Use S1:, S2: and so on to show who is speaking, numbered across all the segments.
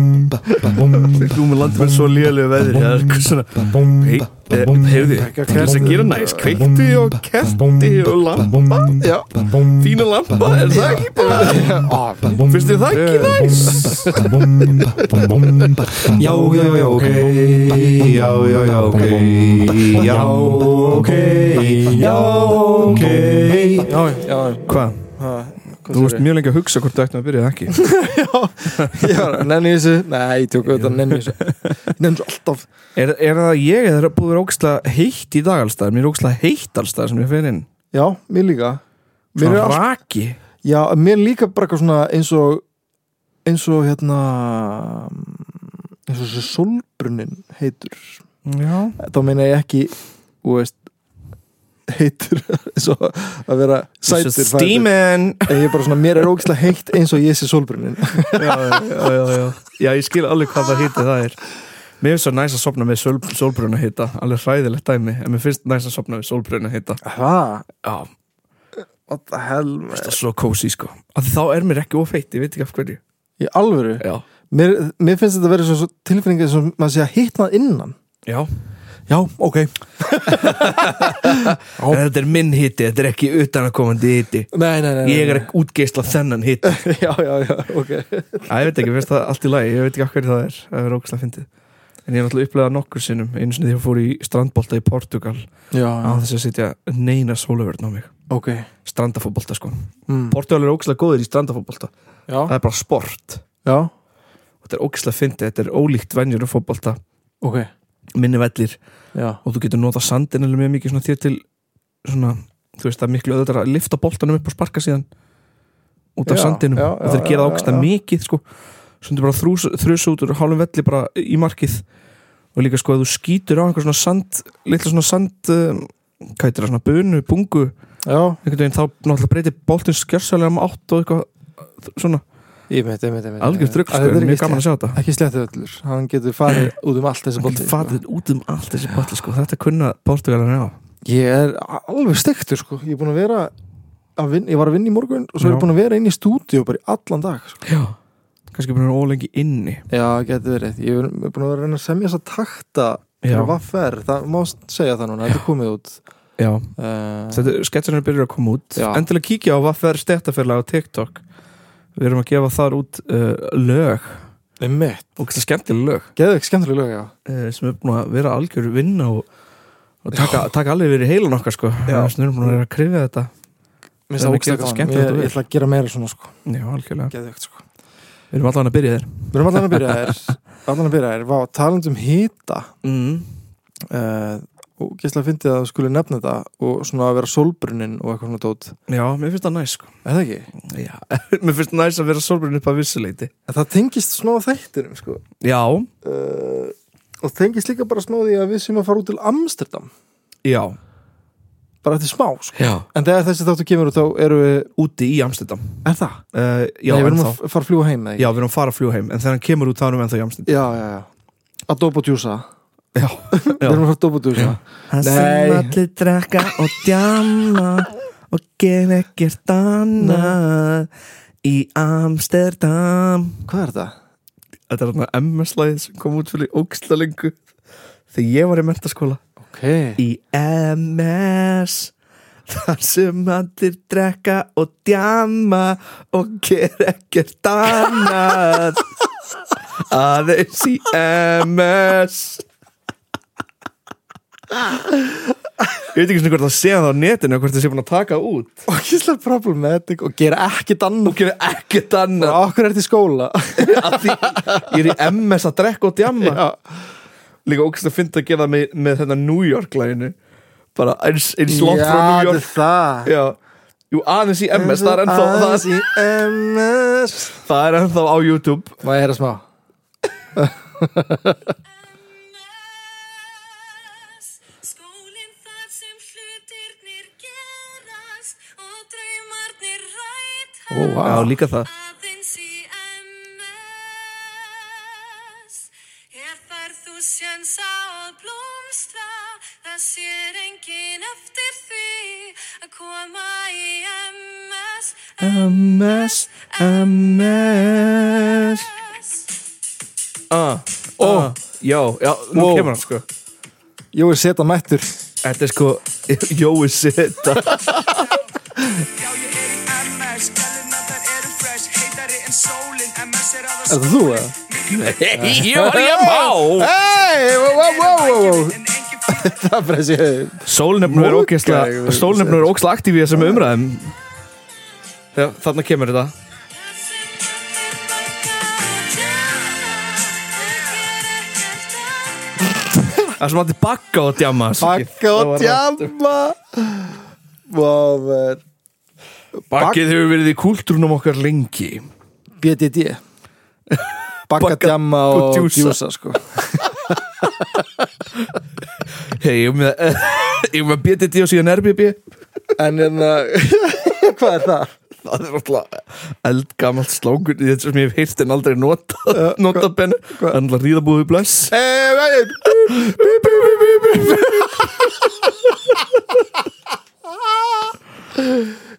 S1: Við
S2: Þú með landið með svo lélegu veðri Það er
S3: sko,
S2: eitthvað svona Hey, eh, Heyrðu, til þess að gera næst Kveikti og kerti og lampa Já, fína lampa Er það ekki bara Finnst þið það ekki næst?
S1: Já, já, já, ok Já, já, já, ok Já, ok Já, ok
S4: Já, já,
S3: Hvað?
S4: hvað
S3: Þú
S4: segirðu?
S3: veist mjög lengi að hugsa hvort þú ættum að byrja eða ekki
S4: Já, nenni ég þessu Nei, ég tjók auðvitað, nenni ég þessu Nenni þessu alltaf
S3: Er, er það ég eða er það búið að vera ógstlega heitt í dag allstað? Mér er ógstlega heitt allstað sem ég fer inn
S4: Já, mér líka Mér er
S3: Svona
S4: alltaf
S3: raki
S4: Já, mér líka bara eitthvað svona eins og eins og hérna eins og þessi solbrunnin heitur
S3: Já
S4: þá meina ég ekki þú veist, heitur eins og að vera sætur fætur.
S3: Steamin
S4: en ég er bara svona, mér er ógislega heitt eins og ég sé solbrunnin
S3: já, já, já, já Já, ég skil alveg hvað það hitti það er Mér finnst svo næst að sopna með sol, solbruna hitta Alveg hræðilegt dæmi En mér finnst næst að sopna með solbruna hitta
S4: Hvað?
S3: Já, mér
S4: What the hell
S3: finnst
S4: man?
S3: það svo kósi sko Af því Þá er mér ekki ofeitt, ég veit ekki af hverju
S4: Í alvöru,
S3: Já,
S4: mér, mér finnst þetta að vera svo tilfinninga sem maður sé að hitnað innan
S3: já
S4: Já, ok
S3: Þetta er minn hitti, þetta er ekki utanakomandi hitti
S4: Nei, nei, nei, nei.
S3: Ég er ekki útgeisla þennan hitti
S4: Já, já, já, ok
S3: Já, ég veit ekki, finnst það allt í lagi, ég veit ekki af hverju það er Það er ógæslega fyndið En ég er náttúrulega upplegað nokkur sinnum Einu sinni þegar ég fór í strandbolta í Portugal
S4: Já,
S3: Á þess að setja neina sóluverðn á mig
S4: ok
S3: Strandafótbolta sko
S4: mm.
S3: Portugal er ógæslega góðir í strandafótbolta
S4: Já,
S3: Það er bara sport
S4: já,
S3: Þetta er ógæslega fyndið, þetta er ólíkt venjur af fótbolta
S4: ok
S3: Minni vellir
S4: Já,
S3: Og þú getur notað sandin alveg mjög mikið svona þér til Svona, þú veist það er miklu öðvitað að lifta boltanum upp og sparka síðan Út af
S4: Já,
S3: sandinum
S4: já,
S3: Og þeir
S4: já,
S3: gera það
S4: já,
S3: ógæslega
S4: já.
S3: mikið sko Svo þetta bara þrjusa út úr hálfum velli bara í markið og líka sko að þú skýtur á einhver svona sand litla svona sand um, hvað heitir það svona bunu, bungu
S4: já
S3: einhvern veginn þá náttúrulega breytir boltinn skjörsalega um átt og eitthvað uh, svona
S4: Ég veit, ég veit, ég veit
S3: algjör drugg sko,
S4: Þetta
S3: en
S4: er
S3: mjög
S4: ekki
S3: gaman að sjá þetta
S4: Ekki slettið öllur, hann getur farið út um allt þessi
S3: Hann
S4: bolti
S3: getur fatið út um allt þessi bolti sko þetta kunna portugalarni á
S4: Ég er alveg stektur sko Ég er búin að vera að vinna, Ég var að vinna í morgun og svo er
S3: Já.
S4: ég búin að vera inn í stúdíu bara í allan dag sko.
S3: já kannski bara ólengi inni
S4: Já, getur verið Ég er ég er búin að vera að reyna að semja þess að takta
S3: já,
S4: fyrir vaffer, það má segja það núna Þetta er komið út
S3: já.
S4: uh,
S3: þetta sketsanir byrjar að koma út
S4: Já.
S3: endilega kíkja á hvað fer stéttafélag á TikTok við erum að gefa þar út uh, lög
S4: Einmitt,
S3: og þetta skemmtileg lög
S4: geðu ekki skemmtileg lög já
S3: uh, sem er búin að vera algjör vinna og, og taka, taka alveg verið heilan okkar sko
S4: Já.
S3: við erum búin að vera að krifja þetta
S4: Mér
S3: Það er
S4: finnst
S3: ógeðslega
S4: ógeðslega gaman.
S3: skemmtilegt
S4: Ég-
S3: að
S4: Ég
S3: vera.
S4: ætla að gera meira svona sko
S3: já, algjörlega
S4: Geðu ekki sko
S3: við erum allan að byrja þér
S4: Við erum allan að byrja þér Allan að byrja þér, vá, talandum hýta
S3: mm.
S4: uh, og gæslega fyndið að þú skulle nefna þetta og svona að vera sólbrunnin og eitthvað svona dót
S3: já, mér finnst það næs sko
S4: er það ekki?
S3: já. mér finnst næs að vera sólbrunni upp að vissuleiti
S4: En það tengist smá þættinum sko
S3: já,
S4: uh, og tengist líka bara smá því að við sem að fara út til Amsterdam
S3: já,
S4: bara eftir smá sko
S3: já
S4: en þegar þessi þáttu kemur út þá eru við
S3: úti í Amsterdam
S4: er það?
S3: uh, já,
S4: Nei, við erum
S3: ennþá.
S4: að f- fara að fljúa heim eða ekki?
S3: já, við erum að fara að fljú heim en þegar hann kemur út þá erum við ennþá í Amsterdam
S4: já, já, já að dopa og djúsa
S3: Já.
S4: við erum að fara að dopa og djúsa
S3: það
S4: Nei.
S3: allir drekka og djamma og gef ekkert annað í Amsterdam
S4: hvað er þetta?
S3: Þetta er þarna MS-læðið sem kom út fyrir ógstla lengu Þegar ég var í mentaskóla
S4: ok
S3: Í MS Þar sem allir drekka og djamma Og ger ekkert annað Aðeins í MS Ég veit ekki svona hvort það sé það á netinu Hvort það sé búin að taka það út
S4: og gæslega problematic og gera ekkit annað
S3: Og gerir ekkert annað
S4: og okkur er þetta í skóla
S3: að því ég er í MS að drekka og djamma líka ógæst að finna að gera það með, með þetta New York læginu bara eins, eins langt frá New
S4: þetta er
S3: York
S4: það
S3: já, jú aðeins í MS það er ennþá, það er,
S4: Aðeins í MS
S3: það er ennþá á YouTube
S4: Má ég heyra smá?
S5: Skólinn þar sem hlutirnir gerast og draumarnir
S4: Ó,
S5: rætast
S4: vá.
S3: já líka það
S5: aðeins í MS Hér færð þú sjans á að blómstra það sér enginn eftir því að koma í MS
S3: MS, MS
S2: Ah,
S3: Ó,
S2: já, já, nú
S3: Wow.
S2: kemur hann sko
S4: Jói seta mættur
S2: Þetta er sko Jói Seta
S4: Er það þú eða?
S2: Jó, ég má
S4: Hey, wow, wow, wow, wow, wow. Það breysi ég
S3: Sólnefnur er ógeðslega Sólnefnur er ógeðslega aktíf í þessum umræðum
S2: Já, þarna kemur þetta Það er sem hætti bakka og djama
S4: Bakka og djamma Wow, ver
S2: Bakkið hefur verið í kúltúrunum okkar lengi
S4: BDD Bakka, djamma
S2: og
S4: og
S2: djúsa.
S4: djúsa sko
S2: Hei, ég er með Ég er með BDD og síðan RBB
S4: En hérna, hvað er það?
S2: Það er alltaf eldgamalt slókur í þetta sem ég hef heyrt en aldrei notað notað bennu Það er alltaf ríðabúðu bless
S4: Eh, veginn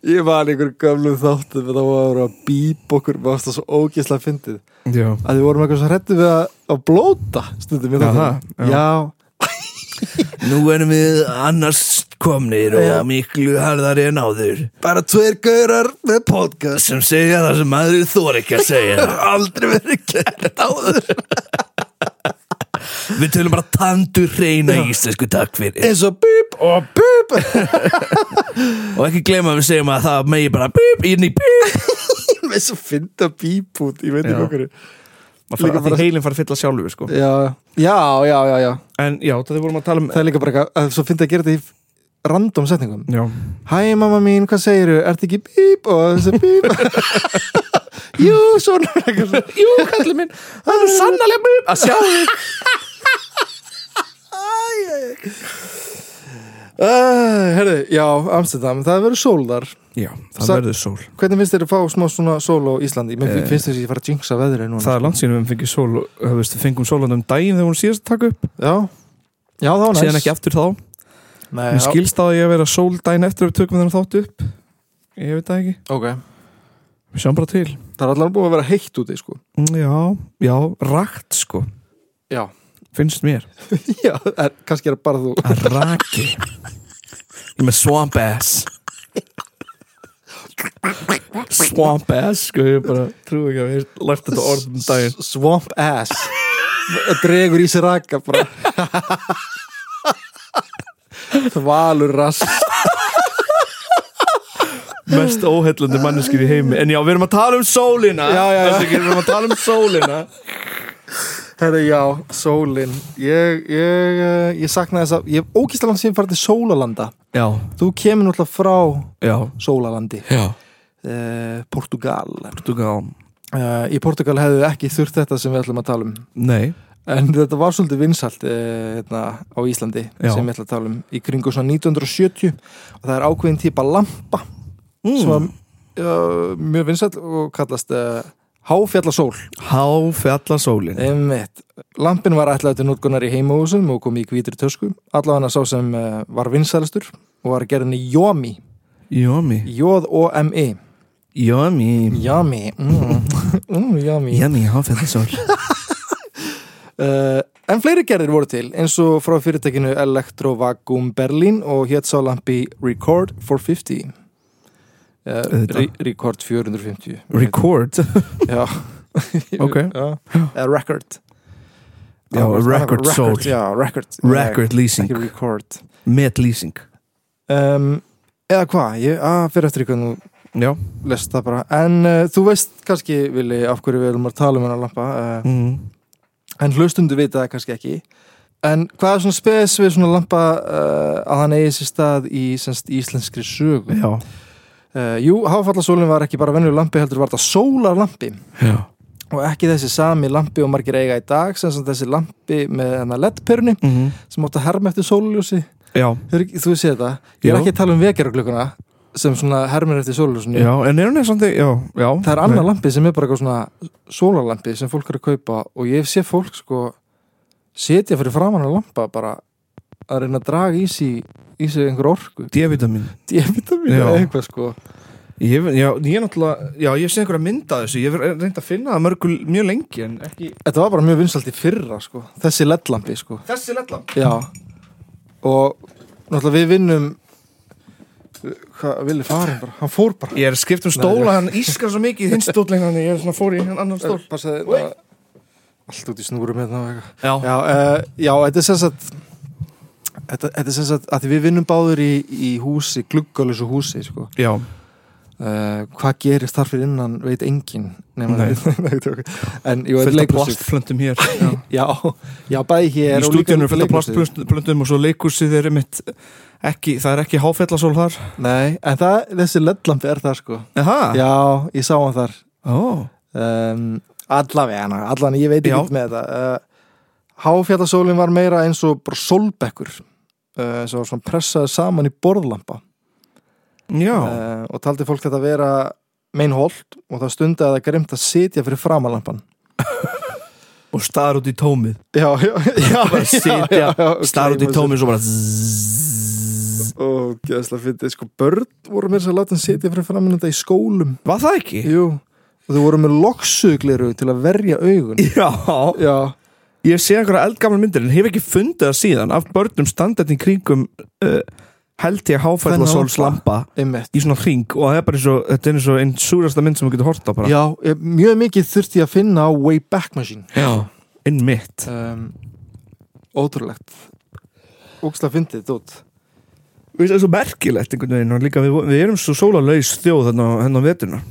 S4: Ég var einhver gömlu þáttu við þá voru að bíp okkur og það svo ógeðslega fyndið
S2: Já
S4: að við vorum eitthvað svo hrættu við að, að blóta stundum við
S2: Já,
S4: þáttunum.
S2: það, já.
S4: já,
S2: Nú erum við annars komnir og miklu harðari en áður
S4: bara tveir gaurar með podcast
S2: sem segja það sem maður þor ekki að segja aldrei verið gert áður Við tölum bara tandu reyna íslensku takk fyrir
S4: eins og bíp og bíp
S2: og ekki gleyma að við segjum að það megi bara bíp inn í bíp
S4: með svo fynda bíp út ég veit
S2: Já.
S4: ekki okkur já,
S3: Líka
S4: bara-
S3: bara heilin fara að fylla sjálfur sko
S4: já, já, já, já
S3: En já, það við vorum að tala um
S4: það er líka bara eitthvað að svo fyndi að gera þetta í random setningum
S3: Já,
S4: hæ mamma mín, hvað segiru, ert ekki bíp og þessi bíp jú, svona eitthvað svona.
S3: Jú, kallið minn, það er sannarlega mjög að sjá þig
S4: uh, herðu, já, Amsterdam, það verður sól þar
S3: Já, það
S4: Sa-
S3: verður sól
S4: hvernig finnst þér að fá smá svona sól á Íslandi mér
S3: Eh.
S4: finnst þér að ég fara að jinxa veðri núna
S3: Það er langt síðan við fengið sól þú veist, við fengum sólan um daginn þegar hún síðast að taka upp
S4: Já, já það var næst
S3: síðan ekki aftur þá
S4: Nei,
S3: Mér
S4: já.
S3: skilst það að ég að vera sól daginn eftir að við tökum þennan þátt upp Ég veit það ekki,
S4: Ok.
S3: við sjáum bara til
S4: Það er allavega búið að vera heitt úti sko.
S3: Mm, Já, já, rakt sko
S4: Já.
S3: Finnst mér
S4: Já, er, kannski er það bara þú
S3: að raki Ég er með swamp ass Swamp ass sko, ég bara trú ekki að við lært þetta orð um daginn
S4: S- Swamp ass Dregur í sér raka bara Þvalur rass
S3: Mest óhellandi manneskir í heimi En já, við erum að tala um sólina
S4: Já, já, já.
S3: Þessi ekki, Við erum að tala um sólina
S4: Herra, já, sólin Ég, ég, eh, ég sakna þess að Ég hef ógíslega langt síðan farið til Sólalanda
S3: Já,
S4: Þú kemur náttúrulega frá
S3: já,
S4: Sólalandi
S3: já
S4: eh, Portugal
S3: Portugal
S4: eh, Í Portugal hefðu ekki þurft þetta sem við ætlum að tala um
S3: Nei,
S4: En þetta var svolítið vinsalt eh, hérna, á Íslandi
S3: Já.
S4: sem ég ætla að tala um í kringu svona 1970 og það er ákveðin típa lampa sem var uh, mjög vinsalt og kallast uh, háfjallasól
S3: háfjalla sólin
S4: Einmitt. Lampin var ætlaði til notkunar í heimahúsum og kom í hvítri tösku allavega sá sem uh, var vinsælastur og var gerðin í Jómi
S3: Yummy
S4: J-O-M-I
S3: Yummy
S4: Jómi E. mm. mm, Jómi
S3: Yummy, háfjalla sól
S4: Uh, en fleiri gerðir voru til eins og frá fyrirtekinu Electrovacuum Berlin og hétt sá lampi Record 450 uh,
S3: Auðvitað.
S4: re Record 450
S3: Record
S4: Já
S3: Ok.
S4: Já. Eða Record Ah,
S3: Já, Record Soul.
S4: Já, Record
S3: Record
S4: Nei,
S3: leasing
S4: Ekki Record
S3: Met leasing
S4: um, Eða hvað, ég að fyrir eftir ykkur nú
S3: Já
S4: lest það bara En uh, þú veist kannski, Vili, af hverju við erum að tala um hennar lampa uh,
S3: mm.
S4: en hlustundu vita það kannski ekki en hvað er svona spes við svona lampa uh, að hann eigi sér stað í semst, íslenskri sögu
S3: Já
S4: uh, Jú, háfallasólin var ekki bara venjuleg lampi heldur var það sólarlampi
S3: Já
S4: og ekki þessi sami lampi og margir eiga í dag sem sem þessi lampi með hennar leddperunni
S3: mm.
S4: sem átt að herma eftir sólljósi
S3: Já,
S4: Hefur ekki- Þú séð þetta? Ég er
S3: Jú.
S4: ekki að tala um vekjaruglukkuna sem svona hermir eftir sólljósinu
S3: já, en er hún eða samt já, já
S4: Það er annað lampi sem er bara eitthvað svona sólarlampi sem fólk er að kaupa og ég sé fólk sko setja fyrir framann að lampa bara að reyna að draga í sig, í sig einhver orku
S3: D-vitamin
S4: D-vitamin
S3: Já.
S4: eða eitthvað sko
S3: Ég, já, ég er náttúrulega, já, ég sé einhverja mynda þessu, ég hef reynd að finna það mörgul mjög lengi en ekki
S4: Þetta var bara mjög vinsalt í fyrra sko. Þessi ledlampi sko.
S3: Þessi lettlamp
S4: Já Og náttúrulega við vinnum eh, Hvað, Vili farin bara Hann fór bara
S3: Ég er að skipta um stóla, hann ískar svo mikið í þinn stóla hann, ég er svona fór í hann annan stól
S4: Passaði
S3: Oj.
S4: þetta- Allt út í snúrum hérna og eitthvað
S3: Já,
S4: Já, uh, já þetta er sem sagt Þetta, þetta er sem sagt að því við vinnum báður í, í húsi, gluggalösu húsi sko.
S3: já,
S4: uh, hvað gerist þar fyrir innan veit engin nema
S3: Nei.
S4: Nei, tjók. en jú, þetta
S3: fullt af
S4: leikhúsið-
S3: plastflöndum hér já.
S4: já, já, bæði hér
S3: Í
S4: og líka
S3: stúdíunum er fullt af
S4: leikhúsið.
S3: plastplöndum og svo leikhúsið er mitt ekki, það er ekki háfellasól þar
S4: Nei, en það, þessi leddlampi er það sko
S3: Aha, já,
S4: Já, ég sá hann þar
S3: ó,
S4: um, Allavega, allan, ég veit
S3: Já.
S4: ekki með þetta uh, Háfjallasólin var meira eins og bara sólbekkur uh, sem var svona pressaði saman í borðlampa
S3: já.
S4: uh, og taldi fólk þetta að vera meinholt og það stundi að það grimt að sitja fyrir framalampan
S3: og staðar út í tómið
S4: Já, já, já,
S3: bara sitja,
S4: ok,
S3: staðar út í
S4: maður
S3: tómið svo bara zzzz.
S4: sér- Ó, gæðslega fyndið, sko, börn voru mér sér að láta hann sitja fyrir framann þetta í skólum
S3: Var það ekki?
S4: Jú, og þau voru með loksugliru til að verja augun
S3: Já,
S4: Já,
S3: Ég sé einhverja eldgamla myndir en hef ekki fundið það síðan af börnum standartin kringum uh, held ég háfælla
S4: Þennan
S3: sól
S4: lampa.
S3: slampa
S4: einmitt
S3: í svona hring og það er bara eins og þetta er eins og einn súrasta mynd sem þú getur hort á bara
S4: Já, eh, mjög mikið þurfti ég að finna á Wayback Machine
S3: inn mitt
S4: um, Ótrúlegt Ógstlega fyndið út
S3: Við það er svo merkilegt einhvern veginn og líka við, við erum svo sólalaus þjóð hérna þennan hennan vetuna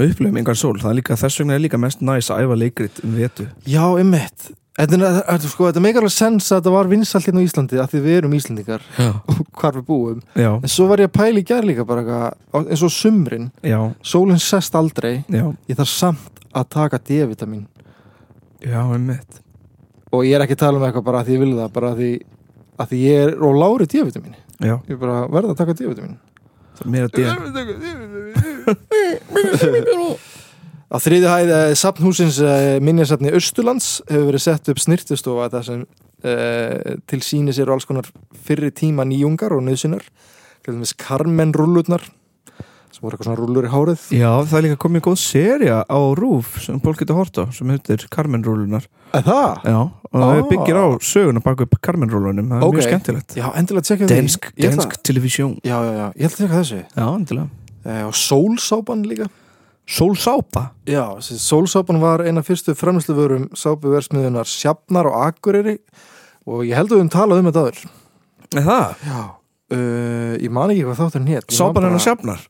S3: og upplifum engan sól það er líka þess vegna er líka mest næs að æfa leikrit um vetu
S4: Já, einmitt Þetta, er- þetta, er sko, þetta meikar alveg sens að þetta var vinsalt hérna á Íslandi af því við erum Íslandingar
S3: Já,
S4: og hvar við búum
S3: já,
S4: En svo var ég að pæla í gær líka bara eitthvað eins og á sumrin,
S3: já,
S4: sólinn sest aldrei
S3: já,
S4: ég þarf samt að taka D-vitamin
S3: já einmitt
S4: og ég er ekki að tala um eitthvað bara að því ég vil það bara að því, að því ég er og lári D-vitamin
S3: Já,
S4: ég er bara verð að taka D-vitamin
S3: það er meira dýr
S4: Á þriði hæð eh, safnhúsins eh, minjasafni Östurlands hefur verið sett upp snirtustofa þar sem eh, til sínis eru alls konar fyrri tíma nýjungar og nöðsynar til dæmis Carmen rullurnar sem voru eitthvað svona rullur í hárið
S3: Já, það er líka komið góð seria á Rúf sem fólk getur hort á, sem heitir Carmen Rúlunar
S4: Er það?
S3: Já, og það
S4: Ah.
S3: byggir á söguna bak við Carmen Rúlunum, það er
S4: Ok.
S3: mjög skemmtilegt
S4: Já, endilega tjekka því
S3: Dansk,
S4: Ég ætla-
S3: dansk televisjón
S4: Já, já, já, ég ætla að tjekka þessu
S3: Já, endilega
S4: eh, og sólsápan líka
S3: Sólsápa
S4: Já, þessi sólsápan var eina fyrstu fremsluvörum sápuversmiðunar Sjafnar og Akureyri og ég held að við um talað um þetta aður
S3: Er það?
S4: Já Uh, ég man ekki hvað þátturinn hétt Ég man
S3: Sápan
S4: bara-
S3: hennar sjafnar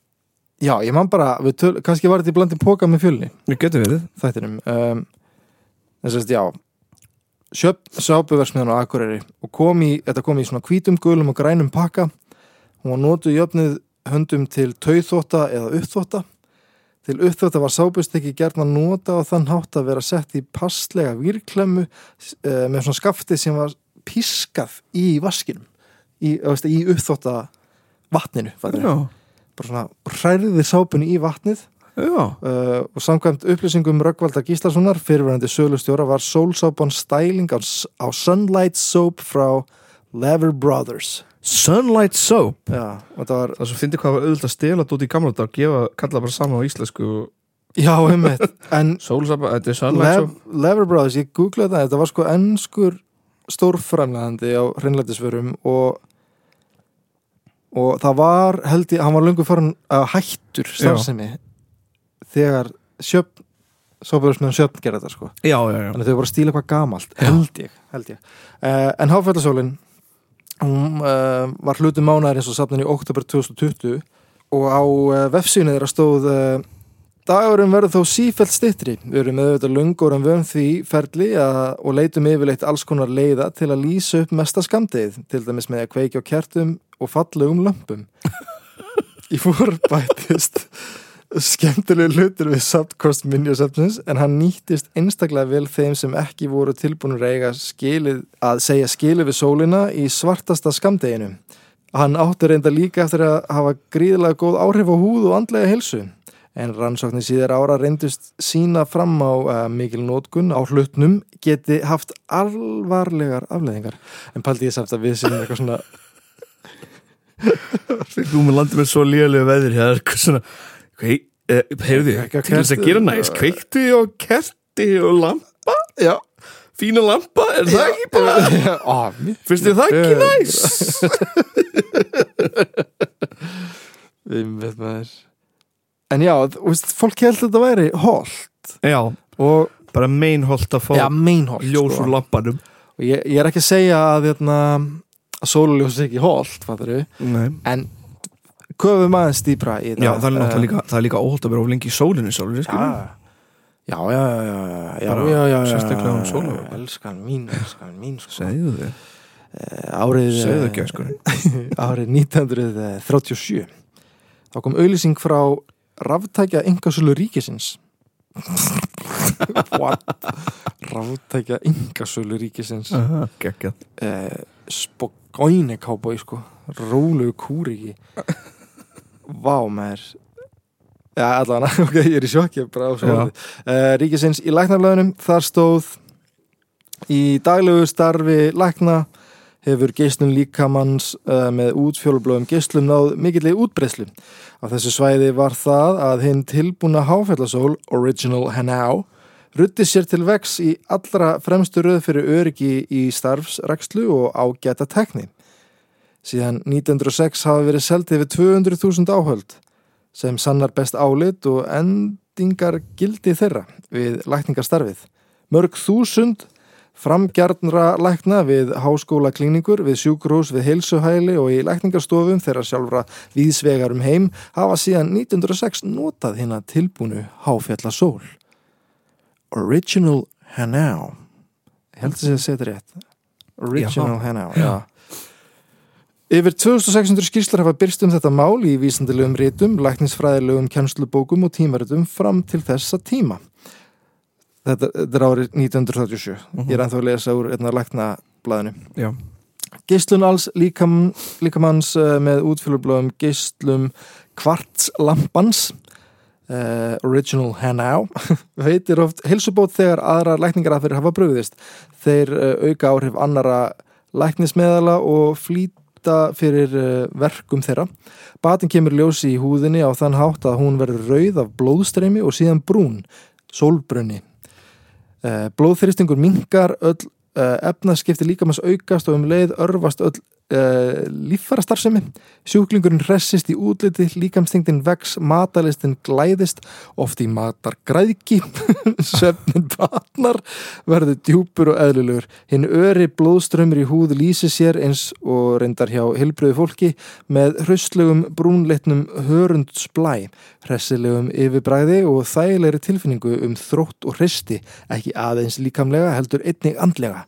S4: Já, ég man bara, við töl, kannski var þetta í blandi póka með fjölni,
S3: Ég getur verið
S4: þættinum um, þess að, já sjöp sápuversmiðan á Akureyri og kom í, þetta kom í svona hvítum, gulum og grænum pakka hún var notuð jöfnið höndum til tauþótta eða uppþótta til uppþótta var sápustekki gerðna nota og þann hátt að vera sett í passlega virklemmu uh, með svona skafti sem var pískað í vaskinum í, þú veist, í uppþótta vatninu fattarðu?
S3: Já,
S4: bara svona hræriði sápunni í vatnið
S3: já,
S4: uh, og samkvæmt upplýsingum Röggvaldar Gíslasonar fyrirverandi sölustjóra var sólsápan stæling á, á Sunlight Soap frá Lever Brothers
S3: Sunlight Soap
S4: Já, og það var
S3: Það sem fyndi hvað var auðvitað að stela þetta út í gamla dag gefa, kalla bara saman á íslensku og
S4: Já, einmitt En
S3: Sólsápa, þetta er Sunlight
S4: Lev,
S3: Soap
S4: Lever Brothers, ég googlaði það þetta var sko ennskur stórframlegandi á hreinlætisverum og og það var held ég, hann var lungu farin að hættur starfsemi þegar sjöfn sábjörnsmiðan sjöfn gerði þetta sko
S3: Já, já, já
S4: þannig að þau voru að stíla eitthvað gamalt held ég, held ég. Uh, en Háfjallasólin hún uh, var hluti mánaðar eins og safnin í oktober 2020 og á uh, vefsínu þeirra stóð uh, dagurum verður þó sífælt stittri við erum með auðvitað lungur en vöfum því ferli að, og leitum yfirleitt alls konar leiða til að lýsa upp mesta skamdið til dæmis með að kveikja á kertum og fallegum lömpum í fór bætist skemmtilegu hlutur við subkost minjasafnins en hann nýttist einstaklega vel þeim sem ekki voru tilbúinur að eiga skilið að segja skilið við sólina í svartasta skamdeginu. Hann átti reynda líka eftir að hafa gríðlega góð áhrif á húð og andlega helsu en rannsóknir síðar ára reyndust sína fram á uh, mikil nótkun á hlutnum geti haft alvarlegar afleðingar en paldi ég samt að við séum eitthvað svona
S2: Við búum að landa með svo lélega veðri Það
S3: sko,
S2: er eitthvað svona hey,
S3: eh,
S2: uh, Heyrðu,
S4: Kveikja
S2: til þess að
S4: kerti.
S2: gera næs Kveikti og kerti og lampa
S4: Já,
S2: Fína lampa, er það ekki bara
S4: á, mér
S2: Finnst þið það
S3: Eh.
S2: ekki
S4: Já.
S2: næs?
S4: Einmitt maður En já, þú veist, fólk held að þetta væri holt
S2: Já,
S4: og,
S2: bara meinholt að fá
S4: já, sko. meinholt
S2: ljós
S3: sko.
S2: úr lampanum
S4: Og ég, ég er ekki að segja að, hérna, að sóluljós er ekki holt, fattar við
S3: Nei.
S4: En köfum aðeins dýpra í þetta
S3: Já, það er náttúrulega
S4: Eh,
S3: líka, það er líka óholt að vera of lengi í sólinni sko. sólinni,
S4: Já,
S3: skilur
S4: já, já, já, já, já, já,
S3: Bara
S4: já, já, já
S3: sérstaklega um sólarlag.
S4: Elskan mín, elskan mín sko.
S3: Segðu þið,
S4: Eh, Árið eh,
S3: segðu ekki, sko
S4: árið 1937 þá kom auðlýsing frá ráftækja yngasölu ríkisins What? ráftækja yngasölu ríkisins uh.
S3: Gekkja
S4: eh, spogóni kábói sko rólegu kúriki vá maður Já, allan, ok, ég er í sjokki bara á svo
S3: Já.
S4: orði. Eh, Ríkisins í læknarlöðunum, þar stóð í daglegu starfi lækna hefur geislun líkamanns uh, með útfjólublöðum geislum náð mikillig útbreyslu. Á þessu svæði var það að hinn tilbúna háfjallasól, Original Hanau, rutti sér til vex í allra fremstu röð fyrir öryggi í starfsrekslu og ágæta tekni. Síðan 1906 hafa verið seldið við 200.000 áhöld sem sannar best álit og endingar gildi þeirra við lækningastarfið. Mörg þúsund framgjarnra lækna við háskóla klíningur, við sjúkrós, við heilsuhæli og í lækningastofum þeirra sjálfra víðsvegar um heim hafa síðan 1906 notað hérna tilbúnu háfjallasól. Original Hanau. Ég held að það sé þetta rétt. Original Hanau, já. Yfir 2600 skýrslar hafa byrst um þetta mál í vísindilegum rítum, læknisfræðilegum kjænslubókum og tímaritum fram til þessa tíma. Þetta, þetta er árið 1937. Ég er ennþá að lesa úr einna læknablaðinu.
S3: Já.
S4: Geislun alls líkam, líkamanns eh, með útfjölublöðum geislum kvartslampans, uh, original hanau, veitir oft heilsubót þegar aðrar lækningar aðferðir hafa brugðist. Þeir eh, auka áhrif annara læknismeðala og flýta fyrir eh, verkum þeirra. Batin kemur ljósi í húðinni á þann hátt að hún verður rauð af blóðstreymi og síðan brún, sólbrunni. Eh, Blóðþristingur mingar, öll eh, efnaskipti líkamanns aukast og um leið örfast öll uh, líffara starfsemi. Sjúklingurinn hressist í útliti, líkamstingdin vex, matalistin glæðist, oft í matar græðki, svefnin batnar, verður djúpur og eðlilegur. Hinn öri blóðströmmur í húð lýsi sér eins og reyndar hjá hilbriðu fólki með hraustlegum brúnleitnum hörundsblæ, hressilegum yfirbræði og þægilegri tilfinningu um þrótt og hristi, ekki aðeins líkamlega heldur einnig andlega.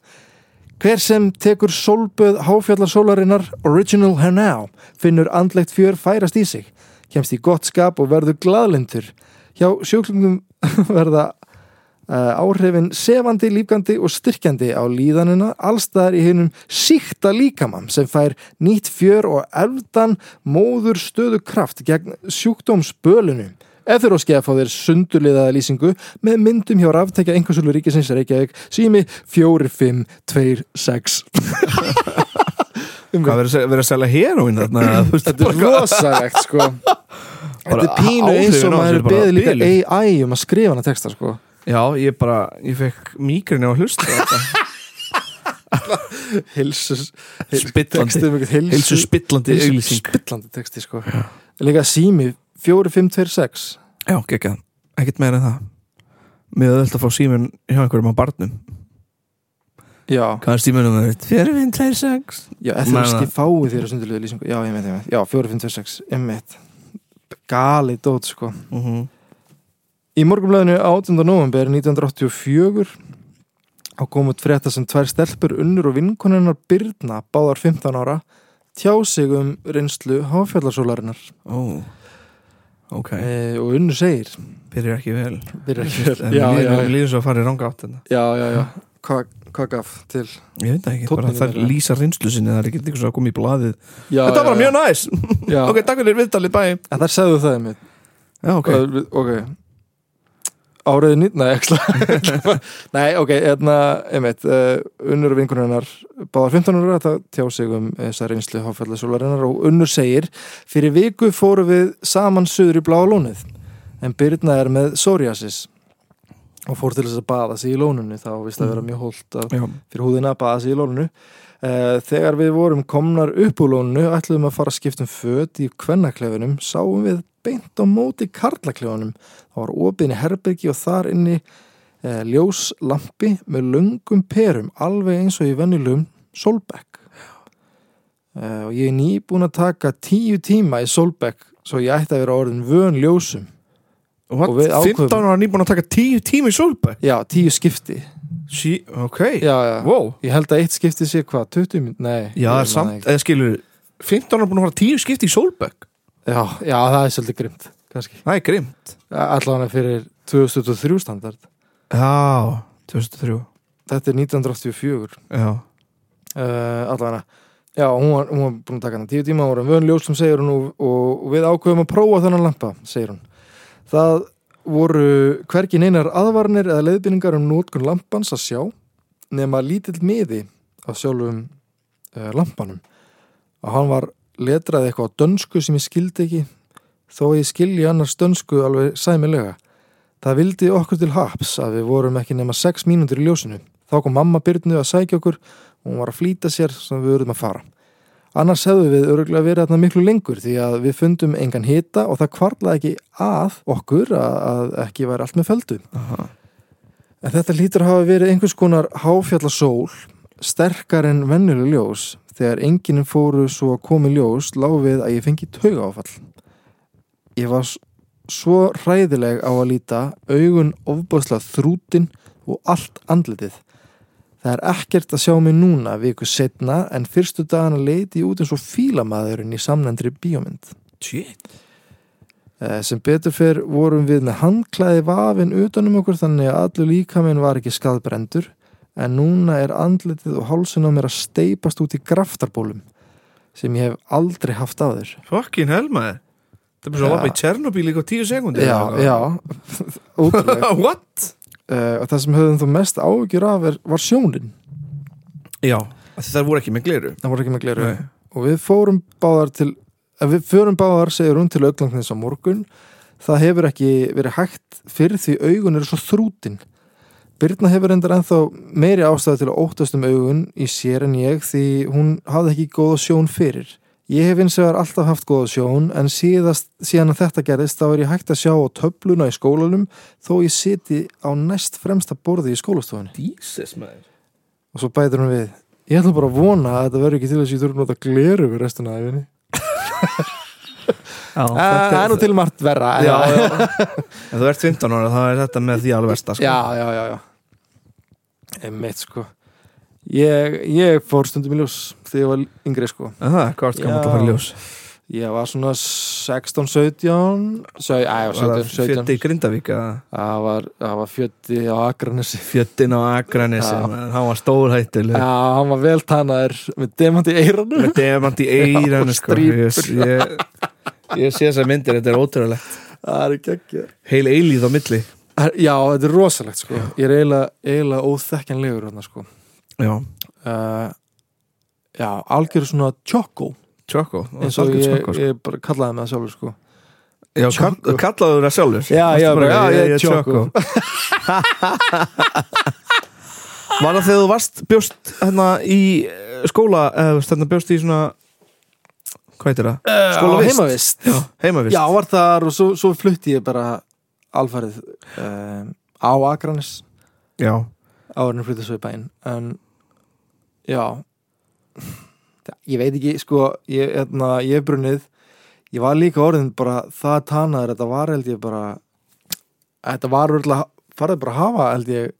S4: Hver sem tekur sólböð háfjallarsólarinnar Original Hanau finnur andlegt fjör færast í sig, kemst í gott skap og verður glaðlindur. Hjá sjúklingum verða uh, áhrifin sefandi, lífgandi og styrkjandi á líðanina allstaðar í hinnum síkta líkamann sem fær nýtt fjör og erfdan móður stöðu kraft gegn sjúkdómsbölunum. Eþuróski að fá þér sundurliðaða lýsingu með myndum hjá raftekja einhversölu ríkisins Reykjavík sími 4526
S3: Hvað verður að, sel- verður að selja heroin þarna? þú veist,
S4: Þetta er rosalegt sko Þetta er pínu eins og
S3: áhrifin á þessu
S4: maður er
S3: bara
S4: beðið líka
S3: biluð.
S4: AI um að skrifa hana texta sko
S3: Já, ég bara, ég fekk mígrinni á hlust
S4: Hilsus
S3: Spillandi Heilsu spillandi auglýsing
S4: spillandi texti sko líka sími 4526
S3: Já, gekkja, ekkert meira en það Mér er að fá síminn hjá einhverjum á barnum
S4: já,
S3: Hvað er síminn um það? 4526
S4: já eftir
S3: Nei,
S4: að
S3: nei.
S4: skifáu þér að sundulegu lýsingu já, ég meint, ég meint, já, 4526 ég meint, gali dót sko
S3: mm -hmm.
S4: Í morgunblæðinu 18. november 1984 á komut frétta sem tvær stelpur unnur og vinkonunnar Birna báðar 15 ára tjá sig um reynslu háfjallarsólarinnar
S3: Ó, ok
S4: e, og unnur segir
S3: Byrjar ekki vel
S4: Byrja ekki vel.
S3: En
S4: já,
S3: mér
S4: já,
S3: líður- mér líður svo að fara í ranga átt þetta
S4: já, já, já. Hvað hva gaf til
S3: Ég veit það ekki, bara
S4: Tónninn
S3: það
S4: er-
S3: lýsa reynslu sinni Það er ekki eitthvað svo að koma í blaðið
S4: já,
S3: Þetta var
S4: já,
S3: mjög næs
S4: já.
S3: Ok, takk fyrir viðtalið, bæ
S4: En þar sagðu það einmitt
S3: Já, ok
S4: okay. ok Áriði nýtt, nei, ekki slá. Nei, ok, hérna, einmitt, uh, unnur og vinkunur hennar báðar 15 ára að það tjá sig um þessa reynslu háfællasólarinnar og unnur segir fyrir viku fórum við saman suður í bláa lónið en Birna er með psoriasis og fór til þess að baða sig í lóninu þá vist að vera mjög hólt að
S3: Já,
S4: fyrir húðina að baða sig í lóninu Eh, Þegar við vorum komnar upp úr lóninu ætluðum að fara að skipta um föt í kvennaklefunum sáum við beint á móti karlaklefunum þá var opinni herbergi og þar inni eh, ljóslampi með lungum perum alveg eins og í venjulegum Solbeck Eh, og ég er nýbúin að taka tíu tíma í Solbeck svo ég ætti að vera orðin vön ljósum
S3: What?
S4: Og við ákveðum-
S3: 15 ára nýbúin að taka 10 tími í solbæk
S4: já, tíu skipti
S3: sí, Ok,
S4: já, já.
S3: wow
S4: ég held að eitt skipti sé hvað, 20 minn,
S3: Já,
S4: nei ég
S3: það
S4: man
S3: er samt,
S4: ekki.
S3: eða skilur 15 ára búin að fara 10 skipti í solbæk
S4: Já, já, það er svolítið grimt kannski.
S3: Það er grimt
S4: Allavega fyrir 2003 standard
S3: Já, 2003
S4: Þetta er 1984
S3: Já,
S4: uh, Allavega Já, hún var, hún var búin að taka hann tíu tíma og vön ljósum segir hún og, og við ákveðum að prófa þennan lampa, segir hún Það voru hvergi neinar aðvarnir eða leiðbyrningar um nótkun lampans að sjá nema lítill miði af sjálfum uh, lampanum og hann var letrað eitthvað á dönsku sem ég skildi ekki þó að ég skilji annars dönsku alveg sæmilega Það vildi okkur til haps að við vorum ekki nema 6 mínútur í ljósinu. Þá kom mamma Byrnu að sækja okkur og hún var að flýta sér sem við vorum að fara. Annars hefðu við öruglega verið þarna miklu lengur því að við fundum engan hita og það kvarlaði ekki að okkur að, að ekki væri allt með feldu.
S3: Aha.
S4: En þetta lítur að hafa verið einhvers konar háfjallasól, sterkar en vennuleg ljós. Þegar enginn fóru svo að komi ljós lág við að ég fengi tauga áfall. Ég var s- svo hræðileg á að líta augun ofbáslega þrútin og allt andlitið. Það er ekkert að sjá mig núna viku setna en fyrstu dagana leiti ég út eins og fílamaðurinn í samnendri bíómynd.
S3: shit
S4: Eh, Sem betur fyrr vorum við með handklæði vafin utanum okkur þannig að allur líkaminn var ekki skadbrendur en núna er andlitið og hálsun á mér að steipast út í graftarbólum sem ég hef aldrei haft af þér.
S3: Fucking hell maður Það er bara svo að
S4: Já.
S3: lappa í Tjernobyl líka á 10 sekundi
S4: Já, já, ótrúlega.
S3: What?
S4: uh, og það sem höfðum þó mest áhugjur af er, var sjónin
S3: Já, það voru ekki með gleru
S4: það voru ekki með gleru og við fórum báðar til eh, við fórum báðar segir hún til auglangnis á morgun það hefur ekki verið hægt fyrir því augun eru svo þrútin Birna hefur endar ennþá meiri ástæðu til að óttast um augun í sér en ég því hún hafði ekki góða sjón fyrir ég hef eins og er alltaf haft góða sjón en síðast, síðan að þetta gerðist þá er ég hægt að sjá á töfluna í skólanum þó ég siti á næst fremsta borði í skólastofunni
S3: Jesus maður
S4: og svo bætir hún við ég ætla bara að vona að þetta verður ekki til þess að ég þurfum að nota gleru við restina af henni
S3: Já,
S4: Ah, það er nú til margt verra
S3: Eh, Já,
S4: já,
S3: já Ef þú ert 15 ára þá er þetta með því alveg versta sko.
S4: já, já, já, já. einmitt sko ég, ég fór stundum í ljós þegar ég var yngri sko
S3: Aha, Hvað ert gaman að fara í ljós?
S4: ég var svona 16, 17 17, æ, 17, 17
S3: Fjötti í Grindavík eða?
S4: það var, það var fjötti á Akranesi
S3: Fjöttin á Akranesi
S4: Já.
S3: maður, Hann var stórhættileg
S4: já, hann var vel tannaður með demant í eiranu
S3: með demant í eiran sko. ég, ég, ég sé þess að myndir, þetta er ótrúlegt
S4: það er ekki ekki
S3: heil eilíð á milli
S4: já, þetta er rosalegt sko ég er eiginlega, eiginlega óþekkjanlegur hann sko
S3: já,
S4: uh, já, algjör svona tjókó
S3: tjókko
S4: eins og ég,
S3: tjókko, sko.
S4: ég bara kallaði með það sjálfur sko.
S3: já, kall, kallaðu það sjálfur
S4: Já,
S3: Varstu
S4: já,
S3: bara,
S4: bara, já,
S3: ég
S4: ég
S3: er tjókko var það þegar þú varst bjóst hérna í eh, skóla eða þú veist, hérna bjóst í svona hvað heitir það?
S4: skóla
S3: á
S4: heimavist já,
S3: heimavist
S4: já, var þar og svo, svo flutti ég bara alfarið um, á Akranis
S3: já.
S4: áður en flutti svo í bæinn en já Það- ég veit ekki sko ég, hérna, ég hef brunnið ég var líka orðin bara það tanaður þetta var held ég bara þetta var verðilega farið bara að hafa held ég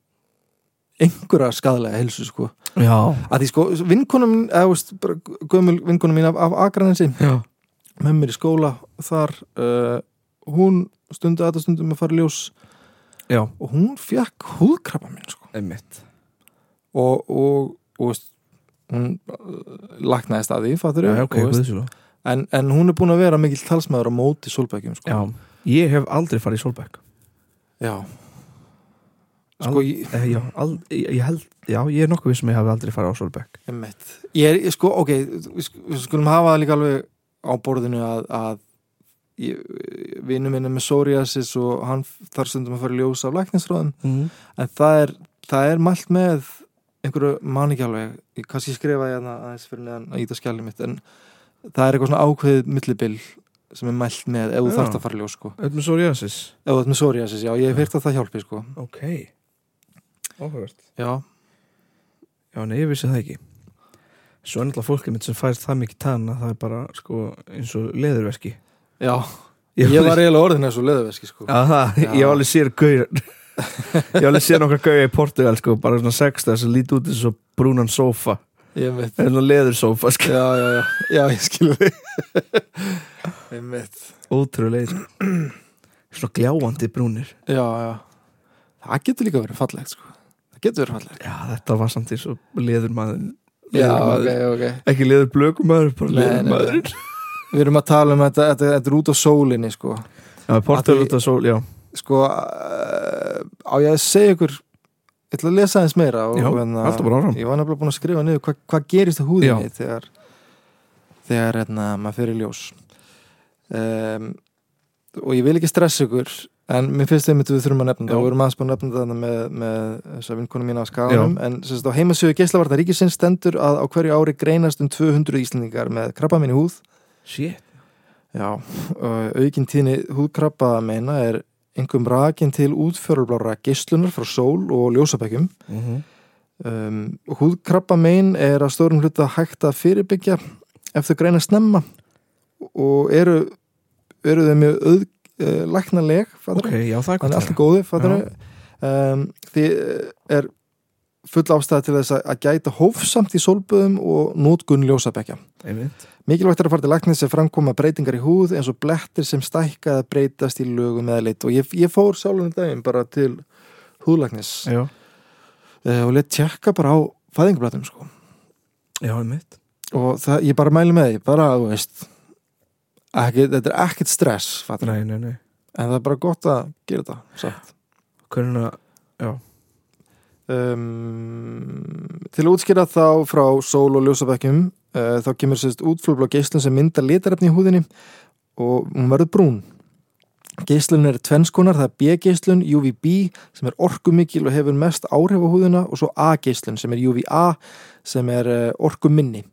S4: einhverja skadlega helsu sko
S3: já
S4: að því sko, vinkonum eða, þú veist, bara gömul vinkonum mín af, af Akranensi
S3: já
S4: með mér í skóla þar uh, hún stundu aðra stundum að fara í ljós
S3: já,
S4: og hún fekk húðkrabba minn sko.
S3: einmitt
S4: og, og, og veist, hún uh, laknaðist að því fattur
S3: já, ok, guðsjóla
S4: en, en hún er búin að vera mikill talsmaður á móti sólbækjum sko.
S3: já, ég hef aldrei farið í Solbæk
S4: Já. Sko, ég,
S3: Eh, Já, al, ég, ég held, já, ég er nokkuð vissum að ég hafi aldrei farið á Solberg
S4: Emmett. Ég er, ég sko, ok, við sk- við skulum hafa það líka alveg á borðinu að, að ég- vinur minn er með psoriasis og hann f- þarf stundum að fara í ljós af læknisráðum
S3: mm.
S4: en það er, það er mælt með einhverju man ekki alveg ég kannski skrifa ég hérna aðeins fyrir neðan að íta skjálum mitt en það er eitthvað svona ákveðið millibill sem er mælt með ef þú
S3: Já.
S4: þarft að fara í ljós sko
S3: Öll með psoriasis
S4: ef þú ert með psoriasis, já, ég hef heyrt að það hjálpi sko
S3: Ok, áhugavert
S4: já,
S3: Já, nei, ég vissi það ekki Svo er náttúrulega fólkið mitt sem fær það mikið tanna það er bara, sko, eins og leðurverki
S4: já, ég var eiginlega orðin þessu leðuveski sko
S3: Aha, ég alveg sér gauður Ég alveg sér nokkar gauður í Portugal sko, bara svona sexta sem lít út eins og brúnan sófa
S4: ég veit
S3: eins og leður sófa sko.
S4: já, já, já, já, ég skilur þig einmitt
S3: Ótrúlega sko. Svona gljáandi brúnir
S4: já, já, það getur líka verið fallegt sko. það getur verið fallegt
S3: Já, þetta var samt eins og leður maður
S4: ok
S3: Ekki leður blökum maður, bara
S4: Nei,
S3: leður
S4: nei,
S3: maður
S4: við erum að tala um þetta, þetta, þetta er út á sólinni sko,
S3: Já, Portugal
S4: Að því-
S3: út af sól, já
S4: sko uh, á ég að segja ykkur ég ætla að lesa aðeins meira og,
S3: Já,
S4: hérna,
S3: haltu bara áfram.
S4: ég var nefnilega búin að skrifa niður hvað hva gerist á húðinni þegar þegar hérna, maður fyrir ljós um, og ég vil ekki stressa ykkur en mér finnst þeim að við þurfum að nefna það
S3: Já.
S4: og við erum aðeins búin að nefna það með, með þess að vinkonu mín á skaganum en sem sagt, á heimasögu Geislavarna Ríkisins stendur að á hverju ári greinast um 200 Íslendingar með krabba í húð
S3: Shit
S4: Já, ö, aukin tíðni húðkrabba að meina er einhverjum rakin til útfjörulblára geislunar frá sól og ljósabækjum.
S3: Mhm.
S4: Um, húðkrabba mein er að stórum hluta hægt að fyrirbyggja ef þau greina snemma og eru, eru þau mjög auð, uh, læknaleg, fattar
S3: Ok, já, það er
S4: Þannig
S3: gott
S4: allt er góði, fattar um, Því eh, er full ástæða til þess að, að gæta hófsamt í sólböðum og nótgun ljósabækja.
S3: Einmitt
S4: Mikilvægt er að fara til læknis sem framkoma breytingar í húð eins og blettir sem stækka eða breytast í lögum eða lit og ég, ég fór sjálfum um daginn bara til húðlæknis
S3: Já,
S4: uh, og leitt tjekka bara á fæðingablatum sko.
S3: já, einmitt
S4: og það, ég bara mæli með því bara að þú veist ekki, þetta er ekkert stress fattar,
S3: Nei, nei, nei
S4: en það er bara gott að gera þetta samt.
S3: Hvernig að,
S4: Um, til að útskýra þá frá sól og ljósabækjum uh, þá kemur sérst útflóðblá geislun sem mynda litarefni í húðinni og hún verður brún geislun er tvennskonar, það er B-geislun UVB sem er orkumikil og hefur mest áhrif á húðina og svo A-geislun sem er UVA sem er uh, orkuminni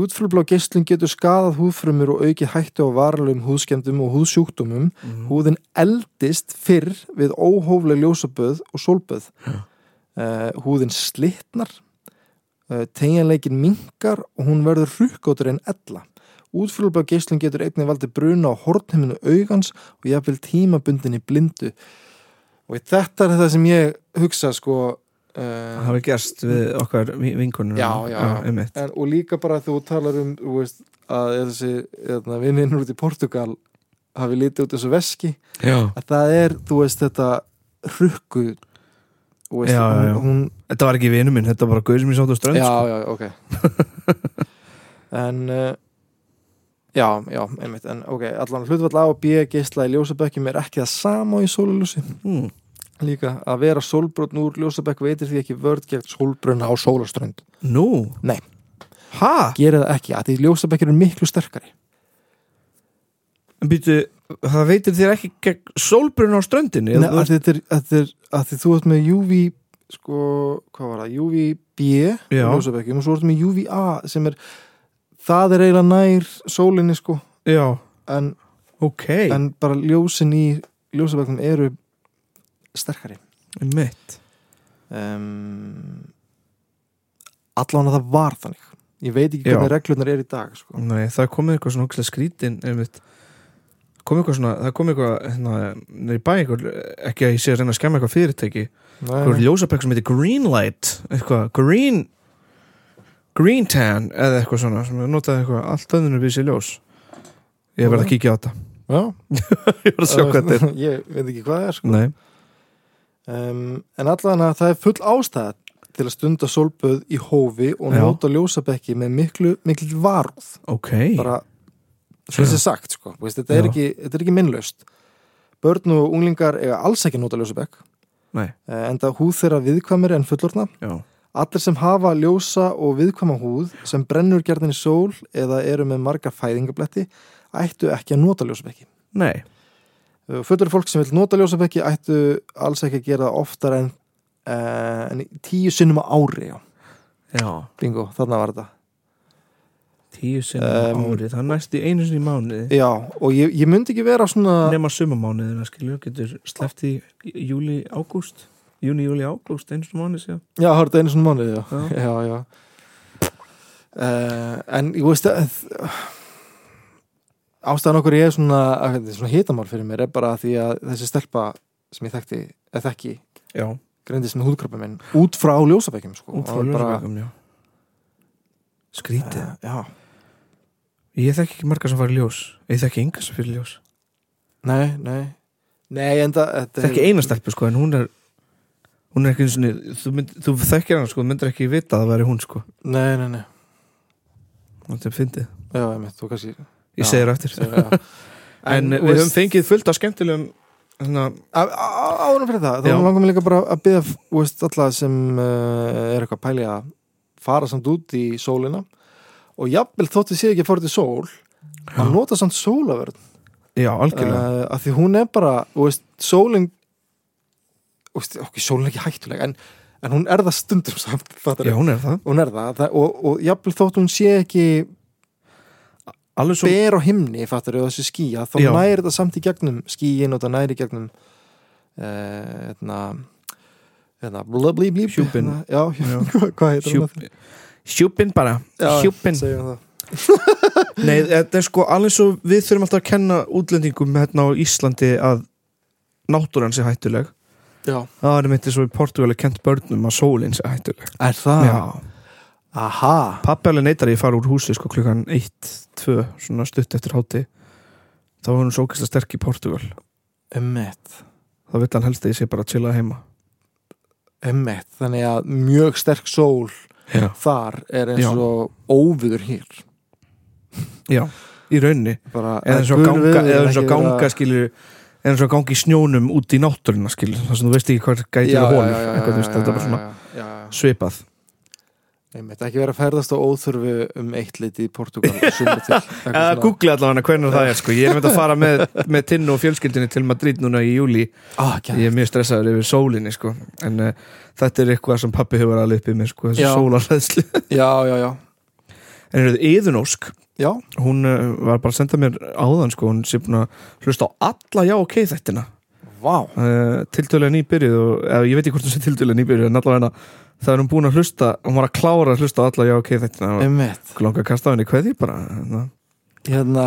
S4: útflóðblá geislun getur skadað húðfrumur og aukið hættu á varalum húðskemdum og húðsjúkdómum húðin eldist fyrr við óhófleg ljósaböð og sólböð uh, húðin slitnar uh, tegjanleikin minkar og hún verður hrukkóttur en ella útfjólubla geislun getur einnig valdi bruna á hornheiminu augans og jafnvel tímabundin í blindu og þetta er það sem ég hugsa sko
S3: Það
S4: uh,
S3: hafi gerst við okkar vi- vinkonur
S4: Já, já, já.
S3: einmitt.
S4: en, og líka bara þegar þú talar um þú veist, að þessi hérna, vinninn út í Portugal hafi litið út þessu veski
S3: já.
S4: að það er, þú veist, þetta hrukku þú veist,
S3: Já, já, já.
S4: hún, hún
S3: Þetta var ekki vinur minn, þetta var bara gauð sem ég sátt á strönd
S4: já,
S3: sko.
S4: já, ok en uh, já, já, einmitt en ok, allan hlutvall A og B geisla í ljósabökkjum er ekki það sama og í sólaljósi
S3: mm.
S4: líka að vera sólbrotn úr ljósabökk veitir því ekki vörd gegn sólbrunna á sólaströnd
S3: Nú?
S4: Nei.
S3: Ha?
S4: gera það ekki, að því ljósabökkjur eru miklu sterkari
S3: En býtu, það veitir þér ekki gegn sólbrun á ströndinni
S4: Nei,
S3: Þú-
S4: að þetta er, að þetta er, að því þú ert með UV sko, hvað var það, UVB í
S3: Já.
S4: ljósabökkjum og svo ertu með UVA sem er, það er eiginlega nær sólinni sko,
S3: Já,
S4: en
S3: ok
S4: en bara ljósin í ljósabæknum eru sterkari
S3: Einmitt
S4: um, allan að það var þannig ég veit ekki
S3: Já.
S4: hvernig reglurnar er í dag sko.
S3: Nei, það komið eitthvað svona ókslega skrítin einmitt komið eitthvað svona, það komið eitthvað hérna, niður í bæ eitthvað, ekki að ég sé að reyna að skemma eitthvað fyrirtæki eitthvað ljósabæk sem heitir Greenlight eitthvað, Green Green Tan eða eitthvað svona sem notaði eitthvað allt öðnur við sér ljós ég verð að kíkja á þetta
S4: já,
S3: ég verð að sjá hvað þetta er
S4: ég veit ekki hvað það er sko.
S3: Nei,
S4: um, en allan að það er full ástæða til að stunda sólböð í hófi og
S3: Já.
S4: nota ljósabæki með miklu, miklu varúð
S3: ok
S4: bara svo þessi sagt sko. Þú veist, þetta, er
S3: Já.
S4: ekki, þetta er ekki minnlaust börn og unglingar eiga alls ekki að nota ljósabæk
S3: Nei.
S4: Eh, enda húð þeirra viðkvæmir en fullorna
S3: Já.
S4: Allir sem hafa ljósa og viðkvæma húð sem brennur gerðin í sól eða eru með marga fæðingabletti ættu ekki að nota ljósabekki.
S3: Nei.
S4: Fötur Eh, fólk sem vil nota ljósabekki ættu alls ekki að gera það oftar en, eh, en tíu sinnum á ári. Já.
S3: Já.
S4: Bingo, þarna var þetta.
S3: Tíu sinnum um,
S4: Um,
S3: árið. Það er næst í einu sinni í mánuði.
S4: Já, og ég, ég myndi ekki vera svona...
S3: Nefna sumamánuðina, skilju, getur sleppt í júli, ágúst. Júni, júli, ágúst, einu sinni í mánuði síðan.
S4: Já, það var þetta einu svona mánuði, já.
S3: Já.
S4: Já, já. Uh, en ég veist að ástæðan okkur ég er svona, að þetta er svona hitamál fyrir mér er bara því að þessi stelpa sem ég þekkti, eða þekki,
S3: Já.
S4: greindist með húðkrabba minn út frá ljósabækjum sko.
S3: Út frá
S4: Og bara-
S3: ljósabækum, já. Skrítið.
S4: Já,
S3: Ég þekki ekki marga sem fara í ljós. Ég þekki enga sem fyrir ljós.
S4: nei, nei Nei, enda þetta
S3: Þekki eina stelpu, sko, en hún er hún er ekki eins og þú, mynd, þú þekkir hana, sko, þú myndir ekki vita að það væri hún, sko.
S4: Nei, nei, nei
S3: Þetta er fyndið.
S4: Já, ég þú kannski
S3: Ég
S4: Já.
S3: segir eftir.
S4: segir, já.
S3: En,
S4: þú
S3: við höfum
S4: veist,
S3: fengið fullt af skemmtilegum hérna, svona,
S4: á- á- á- Árum fyrir það, þá
S3: Já.
S4: langar mér líka bara að byrja veist, alla sem uh, er eitthvað pæli að fara samt út í sólina og jafnvel þótt við séð ekki að fara út í sól að nota samt sólavörn
S3: Já, algjörlega
S4: uh, að því hún er bara þú veist, sólin þú veist, ok, sólin er ekki hættuleg en, en hún er það stundum samt fattar
S3: Já, hún er það
S4: hún er það, það og, og jafnvel þótt hún sé ekki
S3: Alveg svo
S4: ber á himni fattar við þessu skýja þá
S3: Já.
S4: næri þetta samt í gegnum skýin og það næri í gegnum hérna hérna, blí, blí, blí
S3: Hjúpinn.
S4: hérna, já,
S3: Já.
S4: hvað heitir hún?
S3: Hjúp- Hjúpinn bara
S4: Já,
S3: Hjúpinn
S4: segjum það.
S3: Nei, þetta er sko alveg svo við þurfum alltaf að kenna útlendingum hérna á Íslandi að náttúran sé hættuleg
S4: já,
S3: Það er mitt eins og í Portugali kent börnum að sólinn sé hættuleg
S4: er það?
S3: Já
S4: aha,
S3: Pappi alveg neytar að ég fara úr húsi sko klukkan 1, 2, svona stutt eftir háti Þá var hún svo ókvæmst sterk í Portugal
S4: ummitt
S3: Þá vill hann helst að ég sé bara að chilla heima
S4: ummitt, þannig að mjög sterk sól
S3: Já
S4: þar er
S3: Já.
S4: eins og óviður hér
S3: Já, í rauninni
S4: bara,
S3: eða eins og að
S4: gul
S3: ganga,
S4: viður,
S3: eða eins og að
S4: ekki
S3: ganga
S4: vera-
S3: skilur eða eins og að ganga í snjónum út í náttúruna skilur þar sem þú veist ekki hvað gæti að
S4: Já, já,
S3: hólur
S4: já, já,
S3: eitthvað, þú veist,
S4: já,
S3: þetta
S4: já,
S3: var svona
S4: já, já, já.
S3: svipað
S4: einmitt, ekki vera að ferðast á óþörfu um eitt liti í Portugal og sumar til eitthvað
S3: eða
S4: svona.
S3: googla allavega hvernig það er sko ég er með að fara með, með tinnu og fjölskyldinni til Madrid núna í júli
S4: ah, ekki,
S3: ég er mjög stressaður yfir sólinni sko en uh, þetta er eitthvað sem pappi hefur alveg uppið með sko þessi
S4: Já.
S3: sólarhæðslu
S4: já, já, já,
S3: en eruð Eðunósk
S4: já,
S3: hún uh, var bara að senda mér áðan sko hún sé búin að hlusta á alla já ok þættina
S4: vá
S3: uh, tiltölulega nýbyrjuð og eða, ég veit ekki hvort hún sé tiltölulega nýbyrjuð en allavega hérna, það er hún búin að hlusta hún var að klára að hlusta á alla já ok þetta og
S4: einmitt,
S3: okkur langar að kasta á henni hverði bara na.
S4: hérna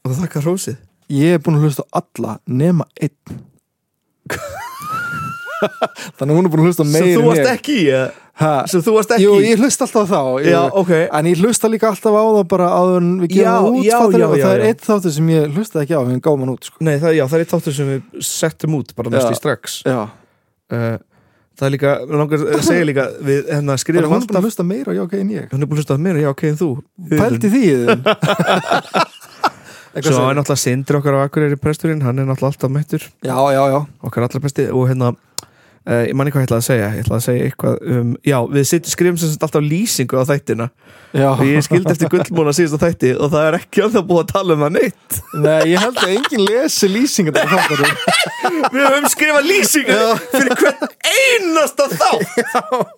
S3: og það þakka hrósið
S4: ég er búin að hlusta á alla nema einn þannig að hún er búin að hlusta á meira
S3: sem þú
S4: en
S3: varst
S4: ég.
S3: ekki í, eða?
S4: Ha,
S3: sem þú varst ekki
S4: jú,
S3: í?
S4: ég hlusta alltaf á þá
S3: já
S4: ég,
S3: ok
S4: En ég hlusta líka alltaf á það bara áður en við
S3: Já,
S4: gefum út
S3: já,
S4: fattar
S3: já,
S4: og
S3: já,
S4: það er
S3: já.
S4: eitt þáttur sem ég hlustaði ekki á en gáum hann út sko.
S3: Nei, það, já, það er eitt þáttur sem við settum út bara næst
S4: Já.
S3: í strax
S4: Já,
S3: uh, það er líka, mig langar að segja líka við hérna
S4: það er
S3: skrifum
S4: hún er búin
S3: alltaf
S4: að hlusta meira á Jóka en ég
S3: hún er búin að hlusta á mér, já ok en þú
S4: Pældi því í þeim
S3: svo er náttúrulega Sindri okkar á Akureyri presturinn hann er náttúrulega alltaf mættur
S4: Já, já, já
S3: okkar allra besti og hérna uh, ég man ekki hvað ég ætlaði að segja ég ætlaði að segja eitthvað um já við sitt, skrifum sem sagt alltaf lýsingu á þættina
S4: Já,
S3: og ég skildi eftir gullmóna síðast á þætti og það er ekki að það búið að tala um það neitt
S4: Nei, ég held að enginn lesi lýsingar þetta þáttur
S3: við höfum skrifað lýsingu fyrir hvern einasta þá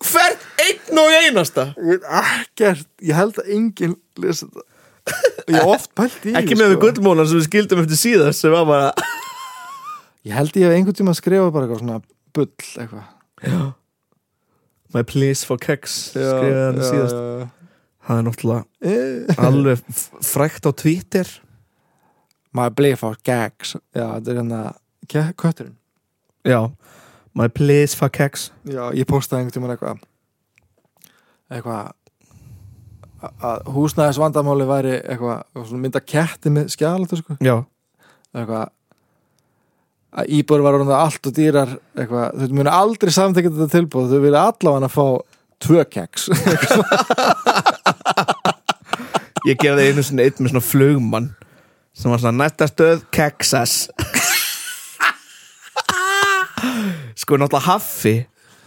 S3: hvern einn og einasta
S4: Ég veit ekkert, ég held að enginn lesi þetta Og Ég hef oft pældi í því,
S3: ekki með við
S4: sko.
S3: gullmóna sem við skildum eftir síðast sem var bara
S4: Ég held ég hef einhvern tíma að skrifa bara eitthvað svona bull eitthvað
S3: my please for keks skrifaði hann síðast það er náttúrulega
S4: síðast
S3: alveg f- frækt á Twitter
S4: My belief for gags Já, þetta er hérna ke- Kötturinn
S3: já my please for keks
S4: Já, ég postaði einhvern tímann eitthvað eitthvað a- að húsnæðis vandamáli væri eitthvað og svona mynda ketti með skjálatu sko.
S3: já
S4: eitthvað að íbúr var orðin allt og dýrar eitthvað, þau munu aldrei samþekja þetta tilbúð þau vilja allavega að fá tvö keks
S3: Ég gerði einu sinni eitt með svona flugmann sem var svona næsta stöð Texas sko náttúrulega Haffi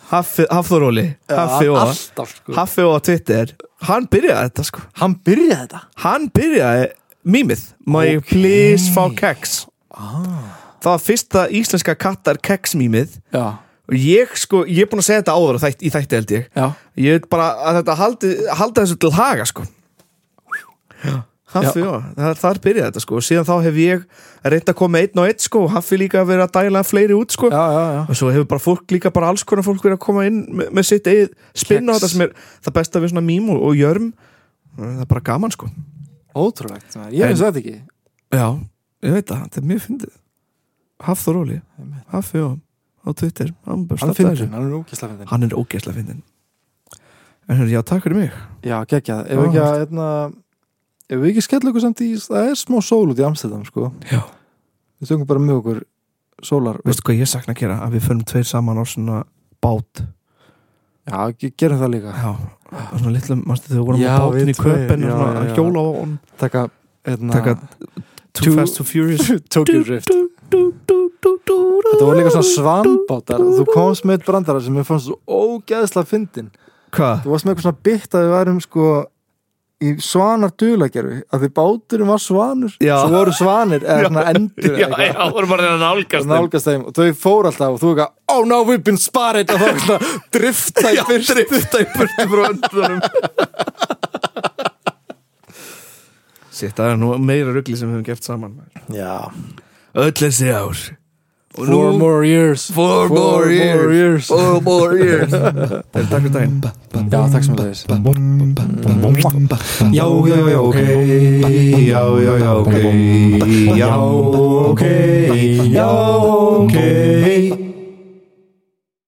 S3: Haffi, Hafþóróli Haffi og
S4: alltaf sko
S3: Haffi og á Twitter Hann byrjaði þetta sko
S4: hann byrjaði þetta
S3: Hann byrjaði mýmið Má ég please fá keks Það var fyrsta íslenska kattar keks mýmið
S4: já,
S3: Og ég sko, ég er búin að segja þetta áður á þætt, í þætti held ég
S4: já,
S3: Ég veit bara að þetta haldi, halda þessu til haga sko Haffi, já, það, þar byrjaði þetta sko og síðan þá hef ég reynd að koma með einn og einn sko og Haffi líka verið að dæla fleiri út sko
S4: já, já, já.
S3: og svo hefur bara fólk líka bara alls konar fólk verið að koma inn með, með sitt eigið spinn á
S4: Kex.
S3: þetta sem er það besta við svona mím og, og jörm það er bara gaman sko
S4: ótrúlegt, maður. ég finnst þetta ekki
S3: já, ég veit það, þetta er mjög fyndið Hafþór Óli, Haffi og á Twitter, hann bara
S4: hann
S3: startaði
S4: finnir,
S3: þessu.
S4: hann er ógislega finnir
S3: hann er ógeðslega fyndin en hérna, já, takk fyrir mig
S4: já, geggjað, ef ekki að einna, ef við ekki skellum okkur samt í það er smá sól út í Amsterdam sko
S3: já,
S4: við tökum bara með okkur sólar
S3: veistu hvað ég sakna að gera að við förum tveir saman á svona bát
S4: já, ge- gerum það líka
S3: já, á svona litlum, mannstu þau vorum
S4: Já,
S3: á bátinn
S4: við
S3: í köpen og
S4: tveir, já,
S3: svona
S4: já, já.
S3: að hjóla á honum.
S4: taka, hérna, einna,
S3: Taka Too
S4: Too-
S3: Fast, Too Furious
S4: Tokyo Drift þetta voru líka svona svanbátar þú komst með eitt brandara sem ég fannst svo ógeðslega fyndin
S3: Hvað?
S4: þú varst með eitthvað svona bytt að við værum sko í svanar dulagerfi að því báturinn var svanur
S3: Já.
S4: svo voru svanir eða svona endur eða
S2: Já,
S4: eitthvað.
S2: já, voru bara að nálgast þeim.
S4: nálgast þeim og þau fór alltaf og þú eitthvað oh no we've been spotted og þá var svona drifta í fyrst
S3: drifta í burtu frá öndunum Sitt, það er nú meira ruggli sem við höfum gert saman maður.
S4: já
S3: Öll þessi ár Og
S4: four more years
S3: Four more years. Four more years Þeir takk fyrir daginn
S4: já takk sem þess
S1: Já, já, já, ok Já, já, já, ok Já, ok Já, ok